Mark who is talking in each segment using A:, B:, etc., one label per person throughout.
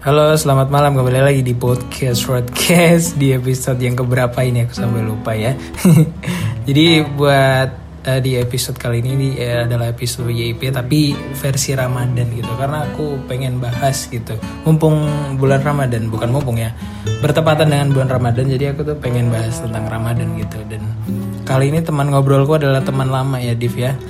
A: Halo, selamat malam kembali lagi di podcast Roadcast di episode yang keberapa ini aku sampai lupa ya. Jadi buat eh, di episode kali ini di- eh, adalah episode YIP tapi versi Ramadan gitu karena aku pengen bahas gitu. Mumpung bulan Ramadan bukan mumpung ya. Bertepatan dengan bulan Ramadan jadi aku tuh pengen bahas tentang Ramadan gitu dan kali ini teman ngobrolku adalah teman lama ya Div ya.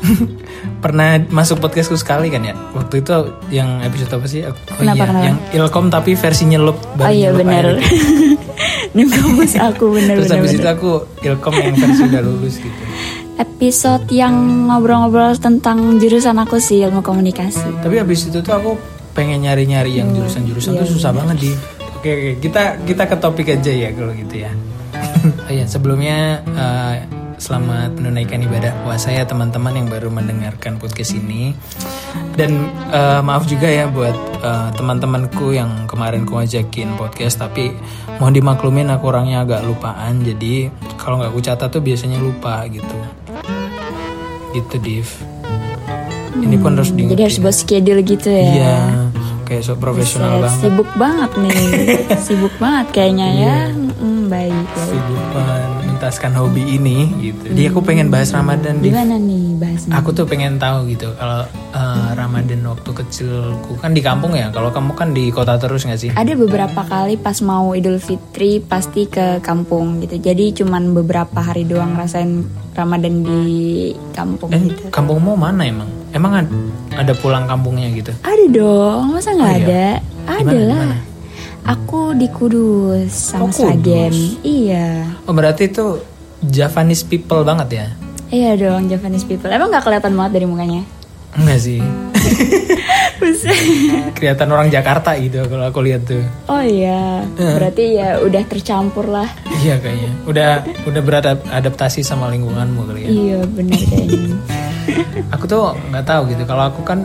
A: Pernah masuk podcastku sekali kan ya. Waktu itu yang episode apa sih? Aku- Oh iya, yang Ilkom tapi versi nyelup baru
B: Ah. Oh iya
A: nyelup air
B: bener
A: gitu.
B: Di kampus aku
A: Terus habis
B: bener-bener
A: itu aku Ilkom yang versi udah lulus gitu.
B: Episode yang ngobrol-ngobrol tentang jurusan aku sih ilmu komunikasi
A: Tapi habis itu tuh aku pengen nyari-nyari yang jurusan-jurusan tuh susah banget di. Oke, oke, kita kita ke topik aja ya kalau gitu ya. oh iya, sebelumnya eh, selamat menunaikan ibadah puasa ya teman-teman yang baru mendengarkan podcast ini. Dan eh, maaf juga ya buat eh, teman-temanku yang kemarin ku ajakin podcast tapi mohon dimaklumin aku orangnya agak lupaan jadi kalau nggak ku catat tuh biasanya lupa gitu. Gitu Div. Ini pun harus diingat.
B: Jadi harus buat schedule gitu ya
A: Iya, kayak so profesional
B: Set,
A: banget.
B: Sibuk banget nih Sibuk banget kayaknya
A: Iya.
B: ya Mm, Baik baik.
A: Sibuk menuntaskan hobi ini gitu. Dia aku pengen bahas Ramadan di.
B: Gimana nih bahasnya
A: Aku tuh pengen tahu gitu kalau eh, Ramadan waktu kecilku kan di kampung ya. Kalau kamu kan di kota terus nggak sih?
B: Ada beberapa kali pas mau Idul Fitri pasti ke kampung gitu Jadi cuman beberapa hari doang ngerasain Ramadan di kampung
A: Eh,
B: gitu
A: kampungmu mana emang? Emang ad- ada pulang kampungnya gitu?
B: Ada dong, masa nggak
A: Oh, iya?
B: ada? Ada
A: Di
B: lah.
A: mana?
B: Aku di Kudus
A: Oh,
B: sama
A: Kudus.
B: Sragen. Iya.
A: Oh berarti itu Javanese people banget ya?
B: Iya dong, Japanese people. Emang nggak kelihatan banget dari mukanya?
A: Enggak sih.
B: Buset.
A: Kelihatan orang Jakarta gitu kalau aku lihat tuh.
B: oh iya,
A: Eh.
B: berarti ya udah tercampur lah.
A: Iya kayaknya. Udah udah beradaptasi sama lingkunganmu kali ya.
B: Iya, benar kayaknya.
A: aku tuh nggak tahu gitu kalau aku kan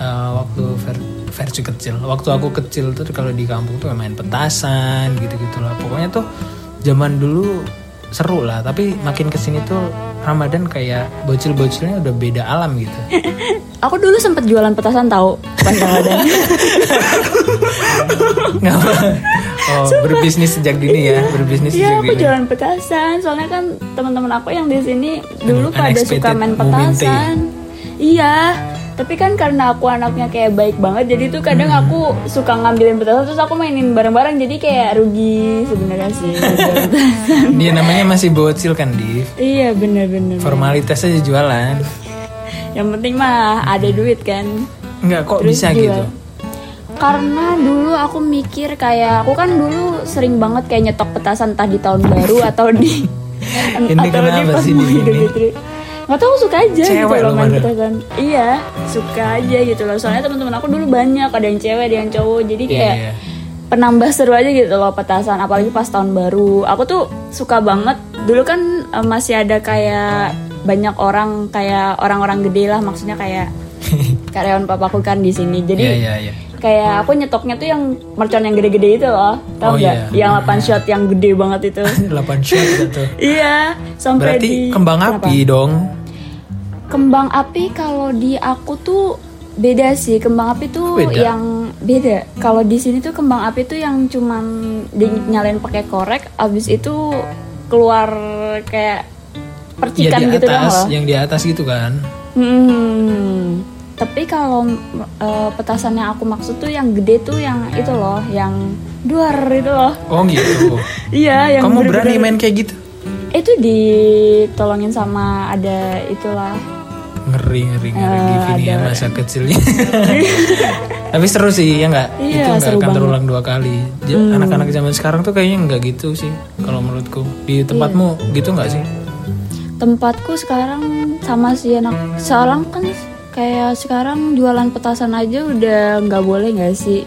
A: eh, waktu ver- versi kecil waktu aku kecil tuh kalau di kampung tuh main petasan gitu gitulah pokoknya tuh zaman dulu seru lah tapi makin kesini tuh Ramadan kayak bocil-bocilnya udah beda alam gitu
B: Aku dulu sempet jualan petasan tahu pas Ramadan.
A: nggak apa- oh berbisnis sejak dini ya berbisnis
B: Iya,
A: sejak
B: aku
A: dini
B: jualan petasan. Soalnya kan teman-teman aku yang di sini dulu pada suka
A: unexpected
B: main
A: moment, eh.
B: petasan. Iya, tapi kan karena aku anaknya kayak baik banget, jadi tuh kadang
A: Hmm.
B: aku suka ngambilin petasan terus aku mainin bareng-bareng, jadi kayak rugi sebenarnya sih.
A: dia namanya masih bocil kan di
B: iya, bener-bener.
A: formalitas aja jualan
B: Yang penting mah ada duit kan.
A: nggak kok
B: Terus
A: bisa
B: jual.
A: gitu
B: Karena dulu aku mikir kayak aku kan dulu sering banget kayak nyetok petasan entah di tahun baru atau di
A: Ini kenapa
B: pas
A: sih
B: mau
A: di
B: Idul
A: ini?
B: Fitri. gitu, Nggak tahu suka aja gitu
A: Cewek
B: loh
A: lu
B: main
A: padahal.
B: petasan. Iya, suka aja gitu loh. Soalnya teman-teman aku dulu banyak, ada yang cewek, ada yang cowok. Jadi
A: Iya,
B: kayak
A: iya.
B: penambah seru aja gitu loh petasan apalagi pas tahun baru aku tuh suka banget dulu kan eh, masih ada kayak banyak orang kayak orang-orang gede lah maksudnya kayak karyawan papaku kan di sini jadi
A: iya iya iya
B: kayak aku nyetoknya tuh yang mercon yang gede-gede itu loh
A: Oh,
B: tau nggak
A: iya.
B: yang 8 shot yang gede banget itu
A: 8 shot gitu
B: iya sampai
A: berarti
B: di
A: kembang
B: Kenapa?
A: api dong
B: kembang api kalau di aku tuh beda sih kembang api tuh
A: Beda.
B: yang beda kalau di sini tuh kembang api tuh yang cuman
A: Hmm.
B: dinyalain pakai korek abis itu keluar kayak
A: Ya
B: percikan
A: di
B: gitu dong
A: atas,
B: loh
A: yang di atas gitu kan.
B: Hmm. Tapi kalau eh, petasan yang aku maksud tuh yang gede tuh yang itu loh, yang duar itu loh.
A: Oh gitu.
B: Iya, yang
A: Kamu
B: bener-bener-
A: berani main kayak gitu?
B: Itu ditolongin sama ada itulah.
A: Ngeri ngeri ngeri
B: Eh,
A: gini ya masa kecilnya. Tapi seru sih ya nggak?
B: Iya,
A: Itu nggak akan
B: seru banget. Hmm.
A: terulang dua kali. Ja- Anak-anak zaman sekarang tuh kayaknya nggak gitu sih, kalau menurutku. Di tempatmu
B: Iya.
A: gitu nggak sih?
B: Tempatku sekarang sama si anak sekarang kan kayak sekarang jualan petasan aja udah nggak boleh nggak sih?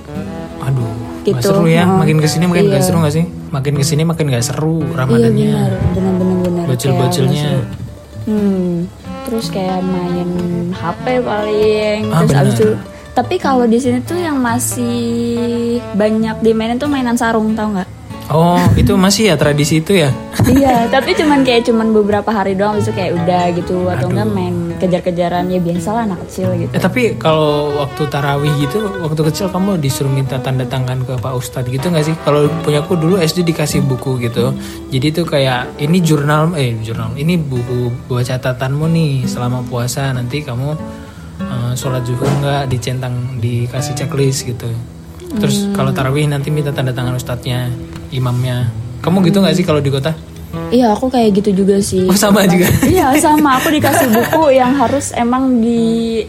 A: Aduh, nggak
B: Gitu,
A: seru ya.
B: heeh.
A: Makin kesini makin nggak
B: Iya.
A: seru nggak sih? Makin kesini makin nggak seru
B: Iya
A: Ramadannya.
B: benar, benar benar benar.
A: Bocil-bocilnya.
B: Hmm, terus kayak main HP paling,
A: Ah,
B: terus
A: benar.
B: abis itu Tapi kalau di sini tuh yang masih banyak dimainin tuh mainan sarung tau nggak?
A: Oh, itu masih ya tradisi itu ya?
B: iya, tapi cuman kayak cuman beberapa hari doang besok kayak udah gitu atau enggak main kejar-kejaran ya biasa lah anak kecil gitu.
A: Eh, tapi kalau waktu tarawih gitu, waktu kecil kamu disuruh minta tanda tangan ke Pak Ustadz gitu nggak sih? Kalau punyaku dulu SD dikasih buku gitu. Jadi itu kayak ini jurnal, eh jurnal, ini buku buat catatanmu nih selama puasa. Nanti kamu eh, sholat zuhur nggak dicentang dikasih checklist gitu. Terus kalau tarawih nanti minta tanda tangan ustadznya, imamnya. Kamu gitu nggak sih kalau di kota?
B: Iya, aku kayak gitu juga sih.
A: Oh, sama juga.
B: iya, sama. Aku dikasih buku yang harus emang di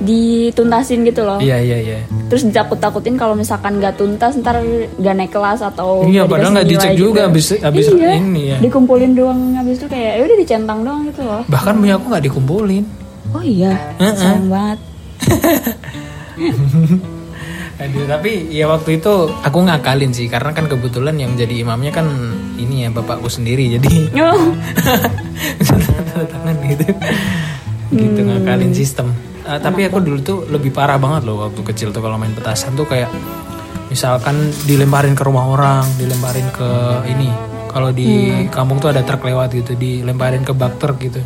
B: dituntasin gitu loh.
A: Iya iya iya.
B: Terus ditakut-takutin kalau misalkan nggak tuntas ntar nggak naik kelas atau
A: Iya,
B: nggak
A: padahal
B: dikasih
A: nggak dicek
B: nilai
A: juga abis- abis
B: Iya,
A: ini ya.
B: Dikumpulin doang habis itu kayak ya udah dicentang doang gitu loh.
A: Bahkan punya aku nggak dikumpulin.
B: Oh iya,
A: Heeh.
B: sayang banget.
A: Aduh, tapi ya waktu itu aku ngakalin sih karena kan kebetulan yang jadi imamnya kan ini ya bapakku sendiri jadi
B: Oh,
A: tanda tangan gitu gitu ngakalin sistem Eh, tapi aku dulu tuh lebih parah banget loh waktu kecil tuh kalau main petasan tuh kayak misalkan dilemparin ke rumah orang dilemparin ke ini kalau di kampung tuh ada truk lewat gitu dilemparin ke bak truk gitu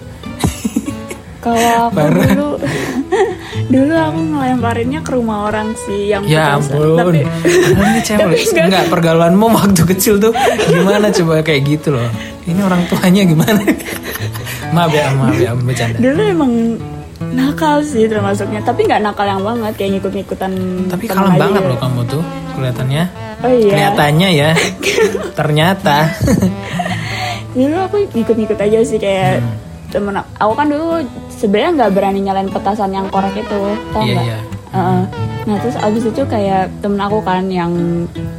B: kalau aku dulu dulu aku ngelemparinnya ke rumah orang sih yang
A: Ya
B: petasan.
A: ampun,
B: Tapi
A: Padahal ini cewek. Enggak, pergaulanmu waktu kecil tuh gimana coba kayak gitu loh. Ini orang tuanya gimana? maaf ya, maaf ya, bercanda.
B: dulu emang nakal sih termasuknya, tapi nggak nakal yang banget kayak ngikut-ngikutan.
A: Tapi
B: teman
A: kalem
B: aja
A: banget
B: gitu.
A: loh kamu tuh kelihatannya.
B: Oh iya.
A: Kelihatannya ya. Ternyata.
B: dulu aku ngikut-ngikut aja sih kayak
A: Hmm.
B: temen aku, aku kan dulu sebenarnya nggak berani nyalain petasan yang korek itu tau
A: Iya,
B: nggak
A: iya.
B: Heeh. nah terus abis itu kayak temen aku kan yang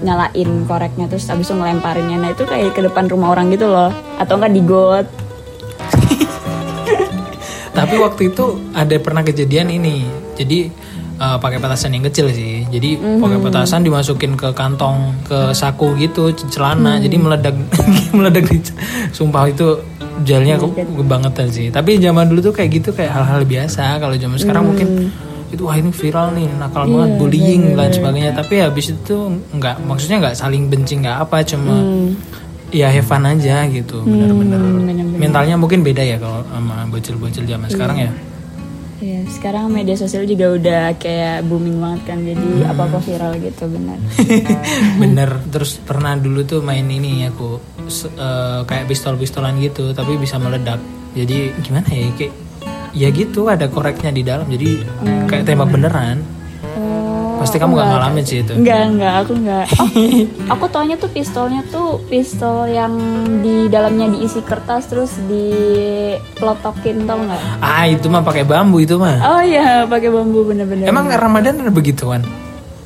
B: nyalain koreknya terus abis itu ngelemparinnya nah itu kayak ke depan rumah orang gitu loh atau enggak di got
A: Tapi waktu itu ada pernah kejadian ini. Jadi eh, pakai petasan yang kecil sih. Jadi pakai petasan dimasukin ke kantong ke saku gitu c- celana. Jadi meledak meledak di c- sumpah itu jalannya ke, kebangetan sih. Tapi zaman dulu tuh kayak gitu kayak hal-hal biasa. Kalau zaman sekarang mungkin itu wah ini viral nih nakal banget bullying dan sebagainya. Tapi habis itu nggak maksudnya nggak saling benci nggak apa cuma
B: Mhm.
A: ya have fun aja gitu bener-bener
B: Hmm, bener-bener.
A: mentalnya mungkin beda ya kalau sama bocil-bocil zaman sekarang ya
B: Iya, sekarang media sosial juga udah kayak booming banget kan jadi
A: Hmm.
B: apa apa viral gitu benar Hmm.
A: bener terus pernah dulu tuh main ini aku se- eh, kayak pistol-pistolan gitu tapi bisa meledak jadi gimana ya kayak ya gitu ada koreknya di dalam jadi kayak tembak beneran
B: oh
A: pasti kamu gak ngalamin sih itu
B: Enggak, enggak, aku enggak. Oh, aku taunya tuh pistolnya tuh pistol yang di dalamnya diisi kertas terus dipelotokin tau enggak?
A: ah itu mah pakai bambu itu mah
B: Oh iya, pakai bambu bener-bener.
A: emang Ramadan ada begituan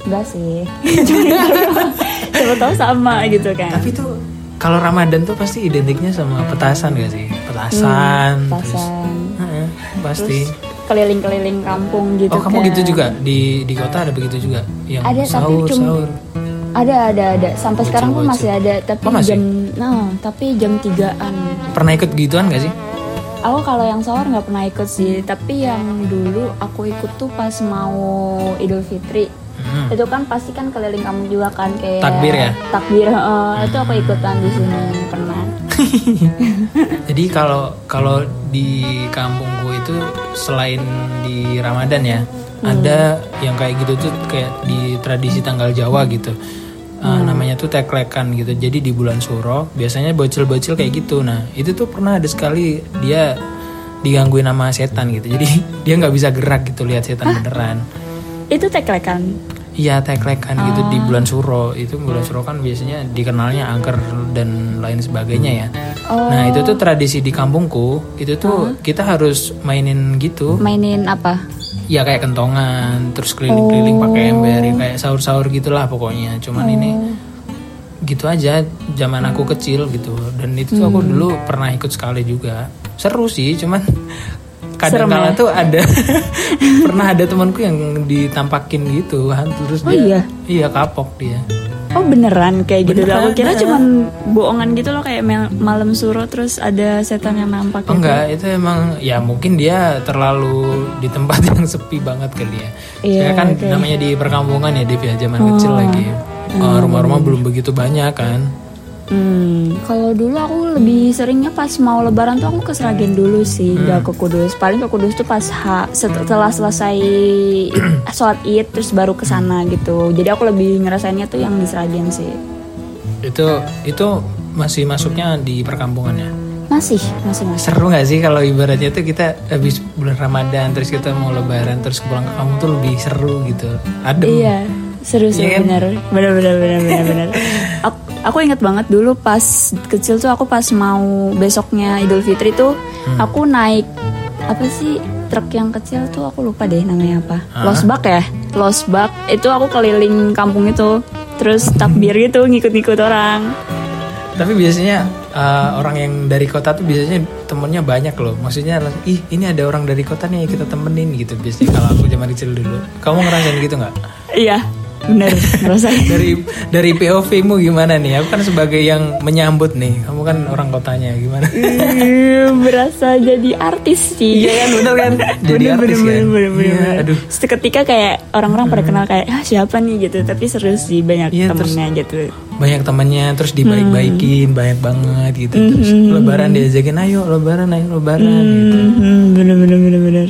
B: enggak sih. Cuma itu doang. Siapa tahu sama gitu kan.
A: tapi tuh kalau Ramadan tuh pasti identiknya sama petasan gak sih petasan
B: Hmm,
A: terus
B: Pasan
A: Heeh, pasti
B: keliling-keliling kampung gitu
A: oh kamu
B: kan.
A: gitu juga di di kota ada begitu juga yang
B: Ada, tapi
A: sahur
B: cuma-
A: sahur
B: Ada, ada, ada. Sampai sekarang pun
A: wajib.
B: masih ada, tapi
A: Oh, masih?
B: jam nah, tapi jam 3-an.
A: pernah ikut gituan gak sih
B: Aku kalau yang sahur nggak pernah ikut sih, tapi yang dulu aku ikut tuh pas mau Idul Fitri.
A: Hmm.
B: Itu kan pasti kan keliling kamu juga kan kayak
A: Takbir ya? Hmm.
B: Takbir, heeh. itu aku ikutan di sini pernah.
A: Jadi kalau kalau di kampungku itu selain di Ramadan ya,
B: Hmm.
A: ada yang kayak gitu tuh kayak di tradisi tanggal Jawa gitu. Uh,
B: Hmm.
A: namanya tuh teklekan gitu. Jadi di bulan Suro biasanya bocil-bocil
B: Hmm.
A: kayak gitu. Nah, itu tuh pernah ada sekali dia digangguin sama setan gitu. Jadi dia nggak bisa gerak gitu lihat setan beneran.
B: Itu teklekan.
A: Iya teklekan gitu di bulan Suro itu bulan Suro kan biasanya dikenalnya angker dan lain sebagainya ya. Nah itu tuh tradisi di kampungku itu tuh kita harus mainin gitu
B: Mainin apa?
A: ya kayak kentongan terus keliling-keliling pakai
B: Oh.
A: ember ya kayak sahur-sahur gitulah pokoknya cuman ini gitu aja zaman aku
B: Hmm.
A: kecil gitu dan itu tuh aku dulu pernah ikut sekali juga seru sih cuman kadang
B: Serem
A: kala
B: ya?
A: tuh ada pernah ada temanku yang ditampakin gitu hantu terus
B: Oh,
A: dia
B: iya?
A: iya kapok dia
B: Oh beneran kayak gitu
A: Beneran,
B: Aku kira
A: beneran.
B: cuman bohongan gitu loh kayak mel- malam suruh terus ada setan yang nampak
A: Oh,
B: gitu.
A: enggak itu emang ya mungkin dia terlalu di tempat yang sepi banget kali ya
B: Iya,
A: Soalnya kan
B: oke.
A: namanya di perkampungan ya Dev ya zaman kecil lagi Eh, rumah-rumah belum begitu banyak kan
B: Hmm, kalau dulu aku lebih seringnya pas mau lebaran tuh aku ke Sragen dulu sih, nggak ke Kudus. Paling ke Kudus tuh pas H, setelah selesai sholat Id terus baru ke sana gitu. Jadi aku lebih ngerasainnya tuh yang di Sragen sih.
A: itu itu masih masuknya di perkampungan ya
B: Masih, masih masih.
A: seru nggak sih kalau ibaratnya tuh kita habis bulan Ramadan terus kita mau Lebaran terus pulang ke kamu tuh lebih seru gitu adem
B: Iya, seru seru
A: Iya kan?
B: bener bener bener bener bener bener. Aku, aku ingat banget dulu pas kecil tuh aku pas mau besoknya Idul Fitri tuh
A: Hmm.
B: aku naik apa sih truk yang kecil tuh aku lupa deh namanya apa. Losbak ya, losbak itu aku keliling kampung itu terus takbir gitu ngikut-ngikut orang.
A: tapi biasanya eh, orang yang dari kota tuh biasanya temennya banyak loh maksudnya langsung, ih ini ada orang dari kota nih kita temenin gitu biasanya kalau aku zaman kecil dulu kamu ngerasain gitu nggak
B: Iya, bener ngerasain.
A: dari dari POV mu gimana nih aku kan sebagai yang menyambut nih kamu kan orang kotanya gimana
B: Iya, Ih, berasa jadi artis sih.
A: iya kan bener kan jadi
B: bener,
A: artis
B: bener,
A: kan
B: bener, bener,
A: Iya,
B: bener.
A: aduh
B: Seketika kayak orang-orang pada kenal kayak ah siapa nih gitu, tapi seru sih banyak
A: Iya,
B: temennya gitu.
A: banyak temannya terus dibaik-baikin banyak banget gitu terus
B: Mm-hmm.
A: lebaran diajakin ayo lebaran ayo lebaran gitu.
B: Hmm, bener bener bener bener.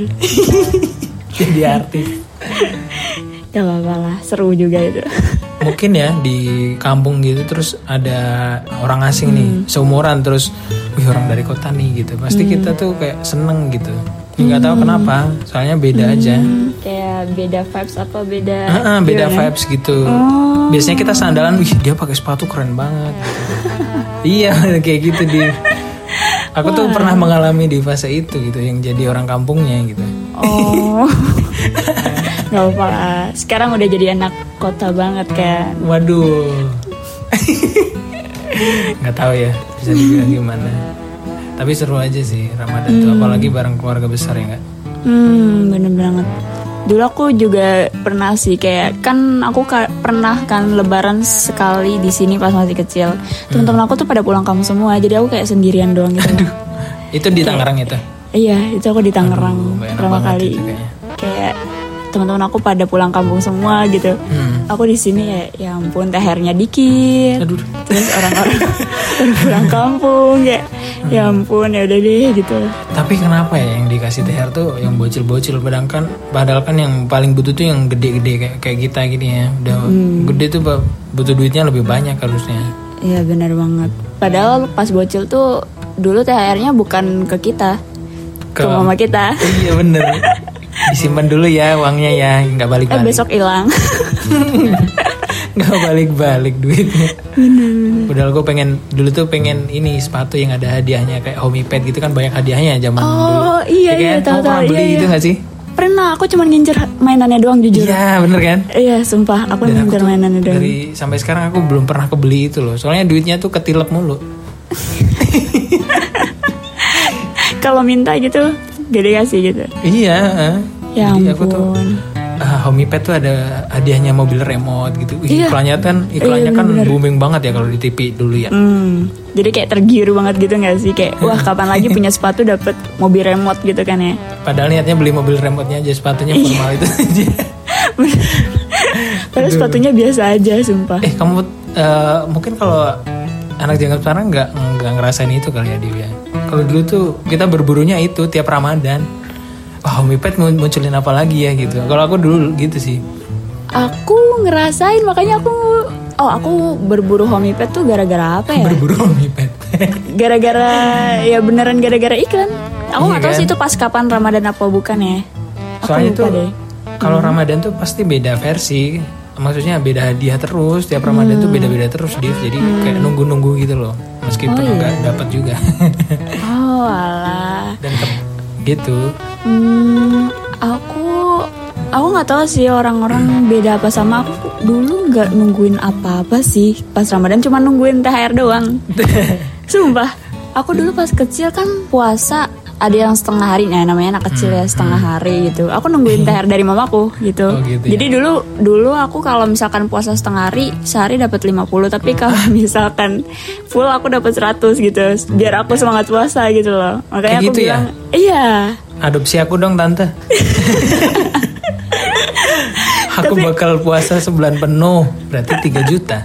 A: jadi artis
B: Gak apa-apa lah, seru juga itu.
A: mungkin ya di kampung gitu terus ada orang asing nih seumuran terus wih orang dari kota nih gitu pasti kita tuh kayak seneng gitu Ya, nggak tahu kenapa soalnya beda aja
B: kayak beda vibes apa beda?
A: Ah, ah, beda
B: gimana?
A: vibes gitu biasanya kita sandalan wih dia pakai sepatu keren banget iya kayak gitu di aku tuh pernah mengalami di fase itu gitu yang jadi orang kampungnya gitu
B: Oh. Gak apa-apa lah. Sekarang udah jadi anak kota banget kayak
A: Waduh. nggak tahu ya bisa dibilang gimana. Tapi seru aja sih Ramadan tuh apalagi bareng keluarga besar ya nggak?
B: Hmm, bener banget. Dulu aku juga pernah sih kayak kan aku ka- pernah kan lebaran sekali di sini pas masih kecil. Teman-teman aku tuh pada pulang kampung semua, jadi aku kayak sendirian doang gitu.
A: Itu di Tangerang itu.
B: Iya, itu aku di Tangerang
A: Aduh, enak
B: pertama
A: banget
B: kali.
A: itu kayaknya.
B: Kayak teman-teman aku pada pulang kampung semua gitu.
A: Hmm.
B: Aku di sini ya, ya ampun tehernya dikit.
A: Aduh.
B: Terus orang-orang pada pulang kampung ya. Ya ampun, ya udah deh gitu.
A: Tapi kenapa ya yang dikasih THR tuh yang bocil-bocil padahal kan padahal kan yang paling butuh tuh yang gede-gede kayak kayak kita gini ya. Udah
B: Hmm.
A: gede tuh ba- butuh duitnya lebih banyak harusnya.
B: Iya benar banget. Padahal pas bocil tuh dulu THR-nya bukan ke kita, ke,
A: Ke-
B: mama kita.
A: iya bener. Disimpan dulu ya uangnya ya nggak
B: Eh
A: balik-balik.
B: besok hilang.
A: nggak balik-balik duitnya. Padahal gue pengen dulu tuh pengen ini sepatu yang ada hadiahnya kayak Homey Pad gitu kan banyak hadiahnya zaman dulu.
B: oh iya
A: Ya
B: iya
A: kan? Kamu
B: tahu
A: pernah
B: tahu.
A: beli
B: Iya,
A: itu
B: iya.
A: nggak sih?
B: Pernah aku cuman ngincer mainannya doang jujur.
A: Iya bener kan?
B: Iya sumpah aku
A: Dan aku
B: ngincer
A: tuh
B: mainannya doang.
A: dari sampai sekarang aku belum pernah kebeli itu loh. Soalnya duitnya tuh ketilep mulu.
B: Kalau minta gitu gede kasih gitu.
A: Iya. eh.
B: Ya
A: Jadi aku tuh
B: ampun.
A: ah, Homey Pad tuh ada hadiahnya mobil remote gitu. Ih,
B: Iya.
A: Iklannya kan iklannya kan booming banget ya kalau di TV dulu ya.
B: Hmm, jadi kayak tergiur banget gitu nggak sih kayak wah kapan lagi punya sepatu dapat mobil remote gitu kan ya.
A: Padahal niatnya beli mobil remote-nya aja sepatunya
B: Iya.
A: formal itu aja.
B: Padahal sepatunya biasa aja sumpah.
A: Eh kamu eh, mungkin kalau anak zaman sekarang nggak nggak ngerasain itu kali ya Dewi ya. Kalau dulu tuh kita berburunya itu tiap Ramadan. Oh, Wah Homey Pad mau munculin apa lagi ya gitu. Kalau aku dulu gitu sih.
B: Aku ngerasain makanya aku oh aku berburu homipet tuh gara-gara apa ya?
A: Berburu Homey Pad.
B: Gara-gara ya beneran gara-gara iklan. Aku
A: Iya
B: nggak tahu
A: kan?
B: sih itu pas kapan Ramadan apa bukan ya. Aku
A: Soalnya
B: lupa
A: tuh
B: deh. Mm-hmm.
A: kalau Ramadan tuh pasti beda versi. Maksudnya beda hadiah terus tiap Ramadan
B: Hmm.
A: tuh beda-beda terus Div. Jadi kayak nunggu-nunggu gitu loh. Meskipun
B: iya.
A: nggak dapat juga.
B: Oh alah.
A: Dan ke- gitu.
B: Hmm, aku aku nggak tahu sih orang-orang beda apa sama aku dulu nggak nungguin apa-apa sih pas Ramadan cuma
A: gitu.
B: nungguin THR doang. Sumpah, aku dulu pas kecil kan puasa ada yang setengah hari nah namanya anak kecil ya setengah hari gitu aku nungguin thr dari mamaku gitu,
A: Hmm, Oh, gitu ya.
B: jadi dulu dulu aku kalau misalkan puasa setengah hari sehari dapat 50 tapi
A: Hmm.
B: kalau misalkan full aku dapat 100 gitu biar aku semangat puasa gitu loh makanya
A: Iya. Kayak
B: aku
A: gitu ya?
B: bilang iya
A: Adopsi aku dong tante. aku bakal puasa sebulan penuh, berarti 3 juta.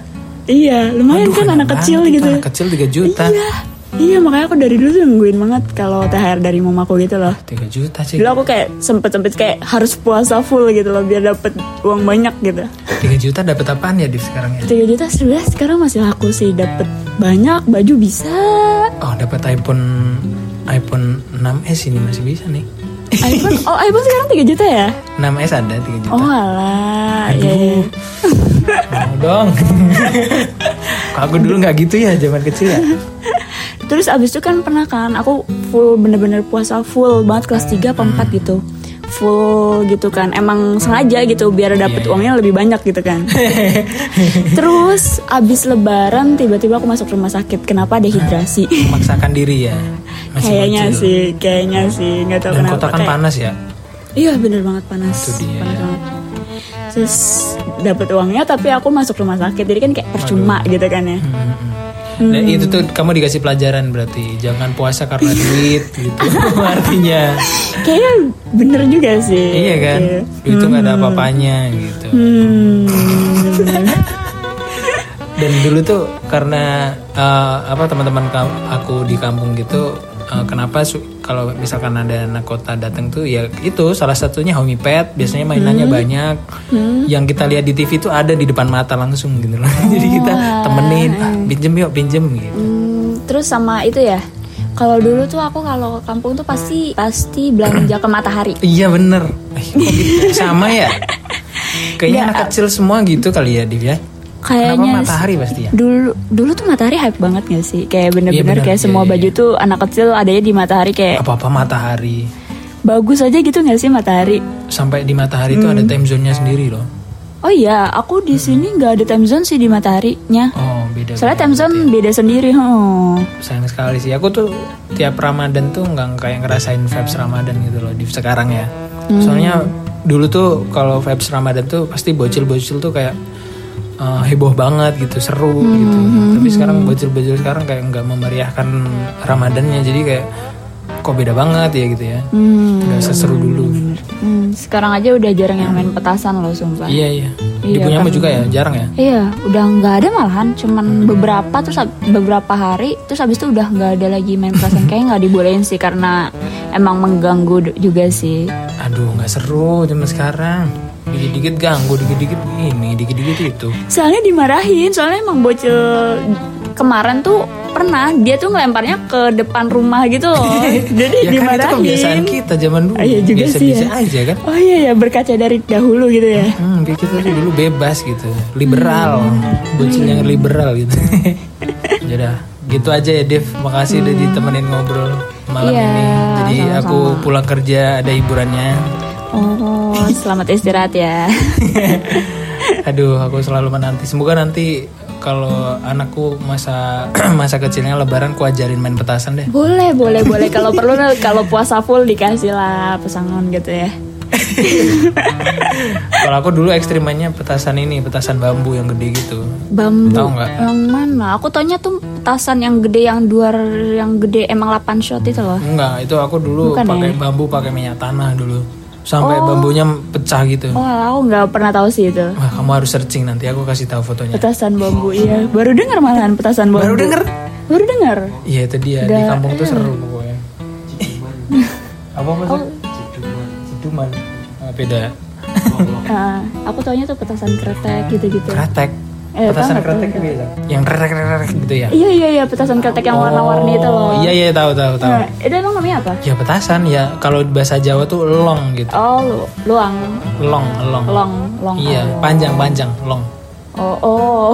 B: iya lumayan
A: Aduh,
B: kan anak kecil
A: banget,
B: gitu
A: Anak kecil 3 juta.
B: iya iya makanya aku dari dulu tuh nungguin banget kalau thr dari mamaku gitu loh
A: 3 juta sih.
B: dulu aku kayak sempet sempet kayak harus puasa full gitu loh biar dapat uang banyak gitu
A: 3 juta dapat apaan ya di sekarang ya?
B: 3 juta sebenarnya sekarang masih laku sih dapat banyak baju bisa
A: Oh, dapat iPhone iPhone 6s ini masih bisa nih.
B: iPhone oh iPhone sekarang 3 juta ya
A: 6s ada 3 juta.
B: oh alah ya, ya.
A: Mau dong. Kok aku dulu nggak gitu ya zaman kecil ya?
B: terus abis itu kan pernah kan aku full bener-bener puasa full banget kelas 3 apa 4 gitu full gitu kan emang sengaja gitu biar dapet uangnya lebih banyak gitu kan terus abis lebaran tiba-tiba aku masuk rumah sakit kenapa dehidrasi
A: Memaksakan diri ya. Masih
B: kayaknya
A: bocil.
B: sih kayaknya sih nggak tahu
A: Dan
B: kenapa
A: kota kan
B: kayak-
A: panas ya.
B: Iya bener banget panas.
A: Itu dia,
B: panas
A: ya.
B: banget. Terus dapat uangnya tapi aku masuk rumah sakit jadi kan kayak percuma gitu kan ya.
A: Nah, itu tuh kamu dikasih pelajaran berarti jangan puasa karena duit gitu artinya.
B: Kayaknya bener juga sih.
A: iya kan? Duit itu nggak ada apa-apanya gitu.
B: Hmm.
A: Dan dulu tuh karena eh, apa teman-teman kam- aku di kampung gitu eh, kenapa su- kalau misalkan ada anak kota datang tuh ya itu salah satunya homie pet biasanya mainannya banyak yang kita lihat di TV tuh ada di depan mata langsung gitu loh jadi kita temenin "Ah, pinjem yuk pinjem gitu
B: Hmm, Terus sama itu ya. Kalau dulu tuh aku kalau ke kampung tuh pasti pasti belanja ke matahari.
A: Iya bener Iya. Eh, kok gitu? Sama ya Kayaknya anak kecil semua gitu kali ya Div ya Kenapa
B: Kayaknya
A: matahari pasti ya
B: dulu dulu tuh matahari hype banget gak sih? Kayak
A: bener.
B: bener-bener kayak
A: Iya,
B: semua
A: iya,
B: baju tuh anak kecil adanya di matahari kayak
A: Apa-apa matahari
B: bagus aja gitu gak sih matahari?
A: Sampai di matahari itu ada time zone-nya sendiri loh
B: Oh iya, aku di sini nggak ada time zone sih di mataharinya.
A: Oh beda
B: Soalnya time zone beda sendiri. Oh.
A: Sayang sekali sih Aku tuh tiap Ramadan tuh nggak kayak ngerasain vibes Ramadan gitu loh Div sekarang ya Soalnya dulu tuh kalau vibes Ramadan tuh Pasti bocil-bocil tuh kayak eh, heboh banget gitu seru gitu tapi sekarang bocil-bocil sekarang kayak nggak memeriahkan Ramadannya jadi kayak kok beda banget ya gitu ya
B: Hmm.
A: nggak seseru dulu
B: Hmm, sekarang aja udah jarang yang main petasan loh sumpah.
A: iya iya di punyamu juga ya jarang ya
B: Iya, udah nggak ada malahan, cuman beberapa terus ab- beberapa hari, terus habis itu udah nggak ada lagi main petasan. Kayaknya nggak dibolehin sih karena emang mengganggu d- juga sih.
A: aduh nggak seru zaman sekarang dikit-dikit ganggu dikit-dikit ini dikit-dikit itu
B: Soalnya dimarahin, soalnya emang bocil kemarin tuh pernah dia tuh ngelemparnya ke depan rumah gitu loh. Jadi
A: ya kan itu
B: dimarahin.
A: kebiasaan kita zaman dulu
B: Ah, iya juga
A: biasa
B: sih ya.
A: biasa aja kan
B: Oh iya ya berkaca dari dahulu gitu ya.
A: hmm, kayak kita tuh dulu bebas gitu liberal
B: Hmm.
A: bocil
B: Iya.
A: yang liberal gitu Yaudah gitu aja ya Dev makasih udah ditemenin ngobrol malam
B: Hmm. Iya,
A: ini jadi aku pulang kerja ada hiburannya
B: Oh selamat istirahat ya.
A: Aduh, aku selalu menanti. Semoga nanti kalau anakku masa masa kecilnya Lebaran, ku ajarin main petasan deh.
B: boleh boleh boleh kalau perlu kalau puasa full dikasih lah pesangon gitu ya.
A: Kalau aku dulu ekstrim mainnya petasan ini, petasan bambu yang gede gitu.
B: Bambu
A: Tahu nggak?
B: yang mana? Aku taunya tuh petasan yang gede yang duar yang gede emang 8 shot itu loh.
A: Enggak, itu aku dulu
B: Bukan ya?
A: pakai bambu, pakai minyak tanah dulu. Sampai bambunya pecah gitu.
B: Oh alah, aku nggak pernah tahu sih itu.
A: Wah, kamu harus searching nanti aku kasih tahu fotonya.
B: Petasan bambu iya. Baru dengar malahan petasan bambu.
A: Baru denger?
B: Baru dengar.
A: Iya, itu dia. Di kampung tuh seru pokoknya. apa apa sih? Ciduman. Ah, beda.
B: Ah, aku taunya tuh petasan kretek gitu-gitu.
A: Kretek.
B: Eh,
A: Petasan kretek biasa. Yang kretek kretek gitu ya.
B: Iya iya iya petasan kretek yang warna-warni itu
A: Oh,
B: loh.
A: Iya iya tahu tahu tahu.
B: Nah, itu emang namanya apa?
A: Ya petasan ya kalau bahasa Jawa tuh long gitu.
B: Oh, lu- luang,
A: Long, long.
B: long, long.
A: Iya, panjang-panjang, long.
B: Oh, oh.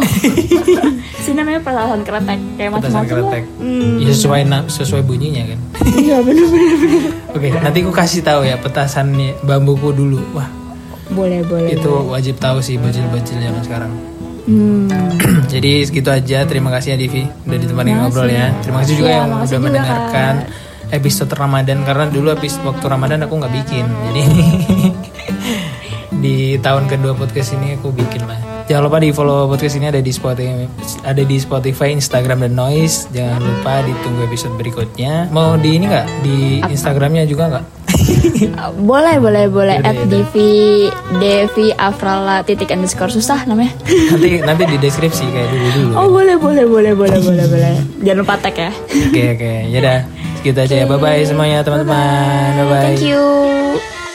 B: Sini namanya petasan kretek kayak Hmm.
A: Petasan
B: macam-macam. lah.
A: kretek. Ya sesuai na- sesuai bunyinya kan.
B: Iya, bener bener bener.
A: Oke, nanti aku kasih tahu ya petasannya bambuku dulu. Wah,
B: Boleh, boleh.
A: itu wajib tahu sih bocil-bocil yang sekarang.
B: Hmm.
A: Jadi segitu aja. Terima kasih ya Divi udah ditemani ngobrol ya. Terima kasih juga
B: Iya,
A: yang
B: makasih
A: udah
B: juga,
A: mendengarkan. episode Ramadan karena dulu habis waktu Ramadan aku nggak bikin jadi di tahun kedua podcast ini aku bikin lah jangan lupa di follow podcast ini ada di Spotify ada di Spotify Instagram dan Noise jangan lupa ditunggu episode berikutnya mau di ini nggak di Instagramnya juga nggak
B: Uh, boleh boleh boleh
A: Yaudah,
B: at Devi Devi Afrala titik underscore susah namanya
A: nanti nanti di deskripsi kayak dulu dulu
B: oh boleh boleh boleh boleh boleh boleh jangan lupa tag ya
A: oke oke ya udah segitu aja ya bye bye semuanya teman-teman bye bye
B: thank you